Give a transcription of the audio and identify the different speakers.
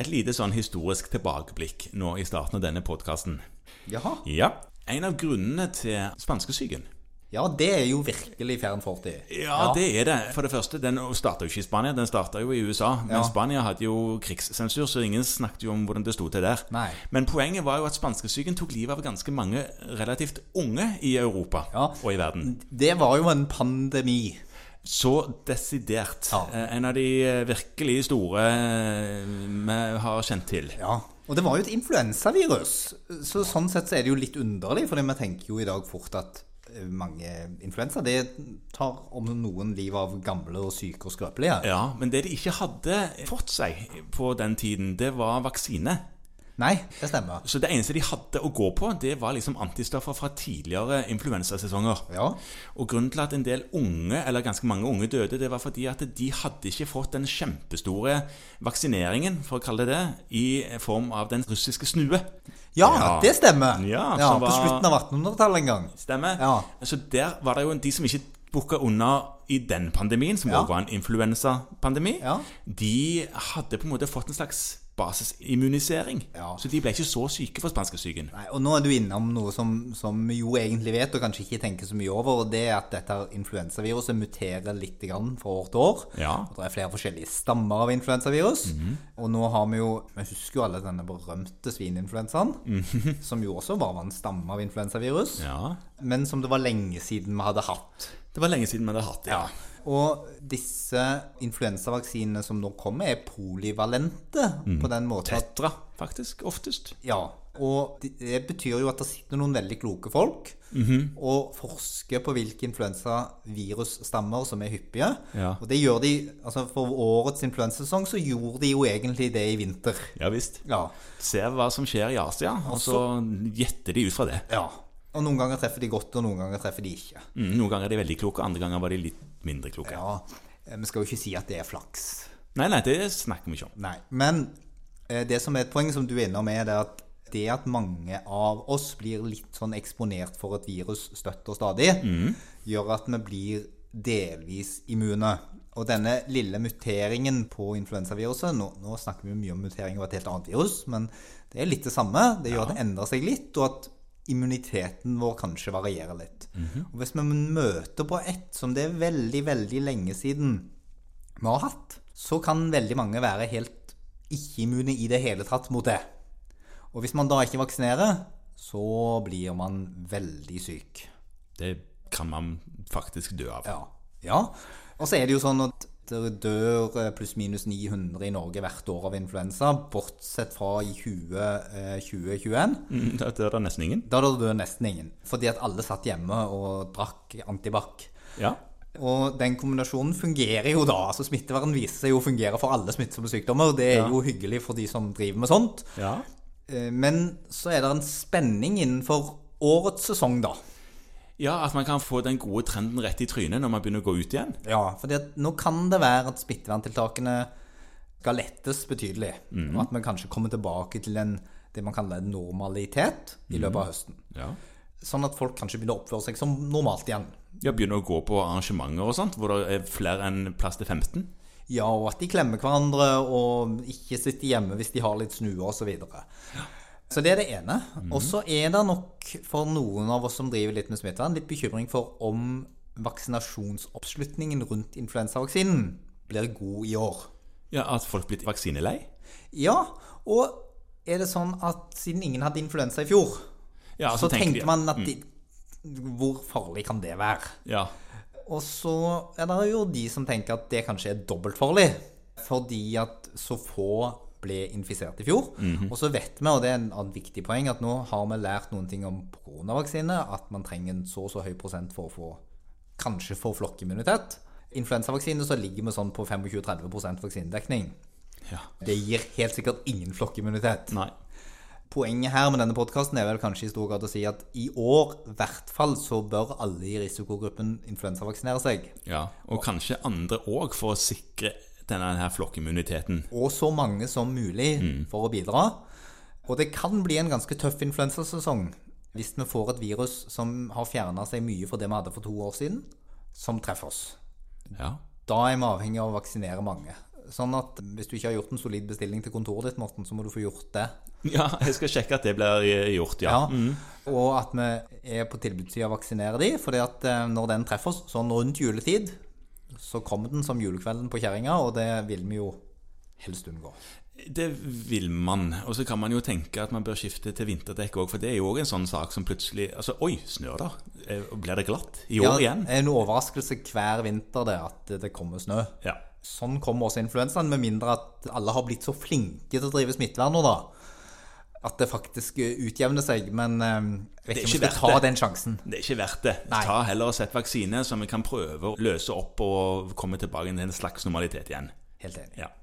Speaker 1: et lite sånn historisk tilbakeblikk nå i starten av denne podkasten.
Speaker 2: Jaha.
Speaker 1: Ja. En av grunnene til spanskesyken
Speaker 2: Ja, det er jo virkelig fjern fortid.
Speaker 1: ja, det er det. For det første, den starta jo ikke i Spania, den starta jo i USA. Men
Speaker 2: Ja.
Speaker 1: Spania hadde jo krigssensur, så ingen snakket jo om hvordan det sto til der.
Speaker 2: Nei.
Speaker 1: Men poenget var jo at spanskesyken tok livet av ganske mange relativt unge i Europa
Speaker 2: Ja.
Speaker 1: og i verden.
Speaker 2: Det var jo en pandemi.
Speaker 1: Så desidert.
Speaker 2: Ja.
Speaker 1: Eh, En av de eh, virkelig store eh, vi har kjent til.
Speaker 2: Ja. Og det var jo et influensavirus. Så sånn sett så er det jo litt underlig, for vi tenker jo i dag fort at eh, mange influensa det tar om noen liv av gamle og syke og skrøpelige.
Speaker 1: Ja, Men det de ikke hadde fått seg på den tiden, det var vaksine.
Speaker 2: Nei, det stemmer.
Speaker 1: Så det eneste de hadde å gå på, det var liksom antistoffer fra tidligere influensasesonger.
Speaker 2: Ja.
Speaker 1: Og grunnen til at en del unge, eller ganske mange unge døde, det var fordi at de hadde ikke fått den kjempestore vaksineringen, for å kalle det det, i form av den russiske snue.
Speaker 2: Ja,
Speaker 1: Ja.
Speaker 2: det stemmer.
Speaker 1: Ja,
Speaker 2: ja
Speaker 1: som
Speaker 2: På
Speaker 1: var-
Speaker 2: slutten av 1800-tallet en gang.
Speaker 1: Stemmer.
Speaker 2: Ja.
Speaker 1: Så der var det jo de som ikke booka unna i den pandemien, som
Speaker 2: Ja.
Speaker 1: også var en influensapandemi,
Speaker 2: Ja.
Speaker 1: de hadde på en måte fått en slags basisimmunisering.
Speaker 2: Ja.
Speaker 1: Så de ble ikke så syke for spanskesyken.
Speaker 2: Nei, og nå er du innom noe som, som vi jo egentlig vet og kanskje ikke tenker så mye over, og det er at dette influensaviruset muterer litt grann fra år til år.
Speaker 1: Ja. Mhm.
Speaker 2: Og Det er flere forskjellige stammer av influensavirus. Og nå har vi jo Vi husker jo alle denne berømte svineinfluensaen, som jo også bare var en stamme av influensavirus,
Speaker 1: Mhm. Ja.
Speaker 2: men som det var lenge siden vi hadde hatt.
Speaker 1: Det var lenge siden vi hadde hatt det.
Speaker 2: Og disse influensavaksinene som nå kommer, er polivalente
Speaker 1: Mhm.
Speaker 2: på den måten at
Speaker 1: Tetra, faktisk, oftest.
Speaker 2: ja, og det- det betyr jo at det sitter noen veldig kloke folk og forsker på hvilke influensavirusstammer som er hyppige.
Speaker 1: Ja.
Speaker 2: Og det gjør de, altså For årets influensasesong så gjorde de jo egentlig det i vinter.
Speaker 1: Ja visst.
Speaker 2: Ja.
Speaker 1: Ser hva som skjer i Asia, og så gjetter de ut fra det.
Speaker 2: ja. Og noen ganger treffer de godt, og noen ganger treffer de ikke.
Speaker 1: Mm, noen ganger er de veldig kloke, andre ganger var de litt mindre kloke.
Speaker 2: Ja, eh, Vi skal jo ikke si at det er flaks.
Speaker 1: Nei, nei, det snakker vi ikke om.
Speaker 2: Nei. Men eh, det som er et poeng som du er innom, er det at det at mange av oss blir litt sånn eksponert for et virus støtt og stadig, gjør at vi blir delvis immune. Og denne lille muteringen på influensaviruset nå, nå snakker vi jo mye om mutering av et helt annet virus, men det er litt det samme. Det gjør at det endrer seg litt, og at immuniteten vår kanskje varierer litt. Og Hvis vi møter på ett som det er veldig, veldig lenge siden vi har hatt, så kan veldig mange være helt ikke-immune i det hele tatt mot det. Og hvis man da ikke vaksinerer, så blir man veldig syk.
Speaker 1: Det kan man faktisk dø av.
Speaker 2: Ja. ja. Og så er det jo sånn at det dør eh, pluss-minus 900 i Norge hvert år av influensa, bortsett fra i 20, eh, 2021.
Speaker 1: Mm, da dør det nesten ingen.
Speaker 2: Da døde nesten ingen, fordi at alle satt hjemme og drakk antibac.
Speaker 1: Ja.
Speaker 2: Og den kombinasjonen fungerer jo da. altså Smittevern viser seg jo å fungere for alle smittsomme sykdommer. Det er jo hyggelig for de som driver med sånt.
Speaker 1: ja.
Speaker 2: Eh, Men så er det en spenning innenfor årets sesong, da.
Speaker 1: Ja, at man kan få den gode trenden rett i trynet når man begynner å gå ut igjen.
Speaker 2: Ja, for nå kan det være at smitteverntiltakene skal lettes betydelig. Og at vi kanskje kommer tilbake til en, det man kaller en normalitet i løpet av høsten.
Speaker 1: Ja.
Speaker 2: Sånn at folk kanskje begynner å oppføre seg som normalt igjen.
Speaker 1: Begynner å gå på arrangementer og sånt, hvor det er flere enn plass til 15.
Speaker 2: Ja, og at de klemmer hverandre og ikke sitter hjemme hvis de har litt snue osv. Så, videre. så det er det ene. Og så er det nok for noen av oss som driver litt med smittevern, litt bekymring for om vaksinasjonsoppslutningen rundt influensavaksinen blir god i år.
Speaker 1: Ja, At folk blir vaksinelei.
Speaker 2: Ja, og er det sånn at siden ingen hadde influensa i fjor,
Speaker 1: Ja,
Speaker 2: så tenkte
Speaker 1: de-
Speaker 2: man at de, Hvor farlig kan det være?
Speaker 1: Ja,
Speaker 2: Og så er det jo de som tenker at det kanskje er dobbelt farlig. Fordi at så få ble infisert i fjor. Og så vet vi, og det er en, et viktig poeng, at nå har vi lært noen ting om koronavaksine. At man trenger en så og så høy prosent for å få kanskje få flokkimmunitet. Influensavaksine så ligger vi sånn på 25-30 vaksinedekning.
Speaker 1: ja.
Speaker 2: Det gir helt sikkert ingen flokkimmunitet.
Speaker 1: Nei.
Speaker 2: Poenget her med denne podkasten er vel kanskje i stor grad å si at i år, i hvert fall, så bør alle i risikogruppen influensavaksinere seg.
Speaker 1: Ja. Og kanskje andre òg, for å sikre denne her flokkimmuniteten.
Speaker 2: og så mange som mulig for å bidra. Og det kan bli en ganske tøff influensasesong hvis vi får et virus som har fjerna seg mye fra det vi hadde for to år siden, som treffer oss.
Speaker 1: Ja.
Speaker 2: Da er vi avhengig av å vaksinere mange. Sånn at hvis du ikke har gjort en solid bestilling til kontoret ditt, Morten, så må du få gjort det.
Speaker 1: Ja, jeg skal sjekke at det blir eh, gjort, ja.
Speaker 2: Ja. Og at vi er på tilbudssida og vaksinerer de, fordi at eh, når den treffer oss sånn rundt juletid, så kommer den som julekvelden på kjerringa, og det vil vi jo helst unngå.
Speaker 1: Det vil man. Og så kan man jo tenke at man bør skifte til vinterdekk òg, for det er jo òg en sånn sak som plutselig Altså, oi, snør der? Eh, Blir det glatt i år igjen?
Speaker 2: Det er en overraskelse hver vinter det at det kommer snø.
Speaker 1: Ja.
Speaker 2: Sånn kommer også influensaen, med mindre at alle har blitt så flinke til å drive smittevern nå, da. At det faktisk eh, utjevner seg. Men eh, jeg
Speaker 1: Det
Speaker 2: vet
Speaker 1: er
Speaker 2: ikke om vi
Speaker 1: ikke
Speaker 2: skal
Speaker 1: verdt
Speaker 2: ta
Speaker 1: det.
Speaker 2: den sjansen.
Speaker 1: Det er ikke verdt det.
Speaker 2: Nei.
Speaker 1: Ta heller og sett vaksine, så vi kan prøve å løse opp og komme tilbake til en slags normalitet igjen.
Speaker 2: Helt enig.
Speaker 1: Ja.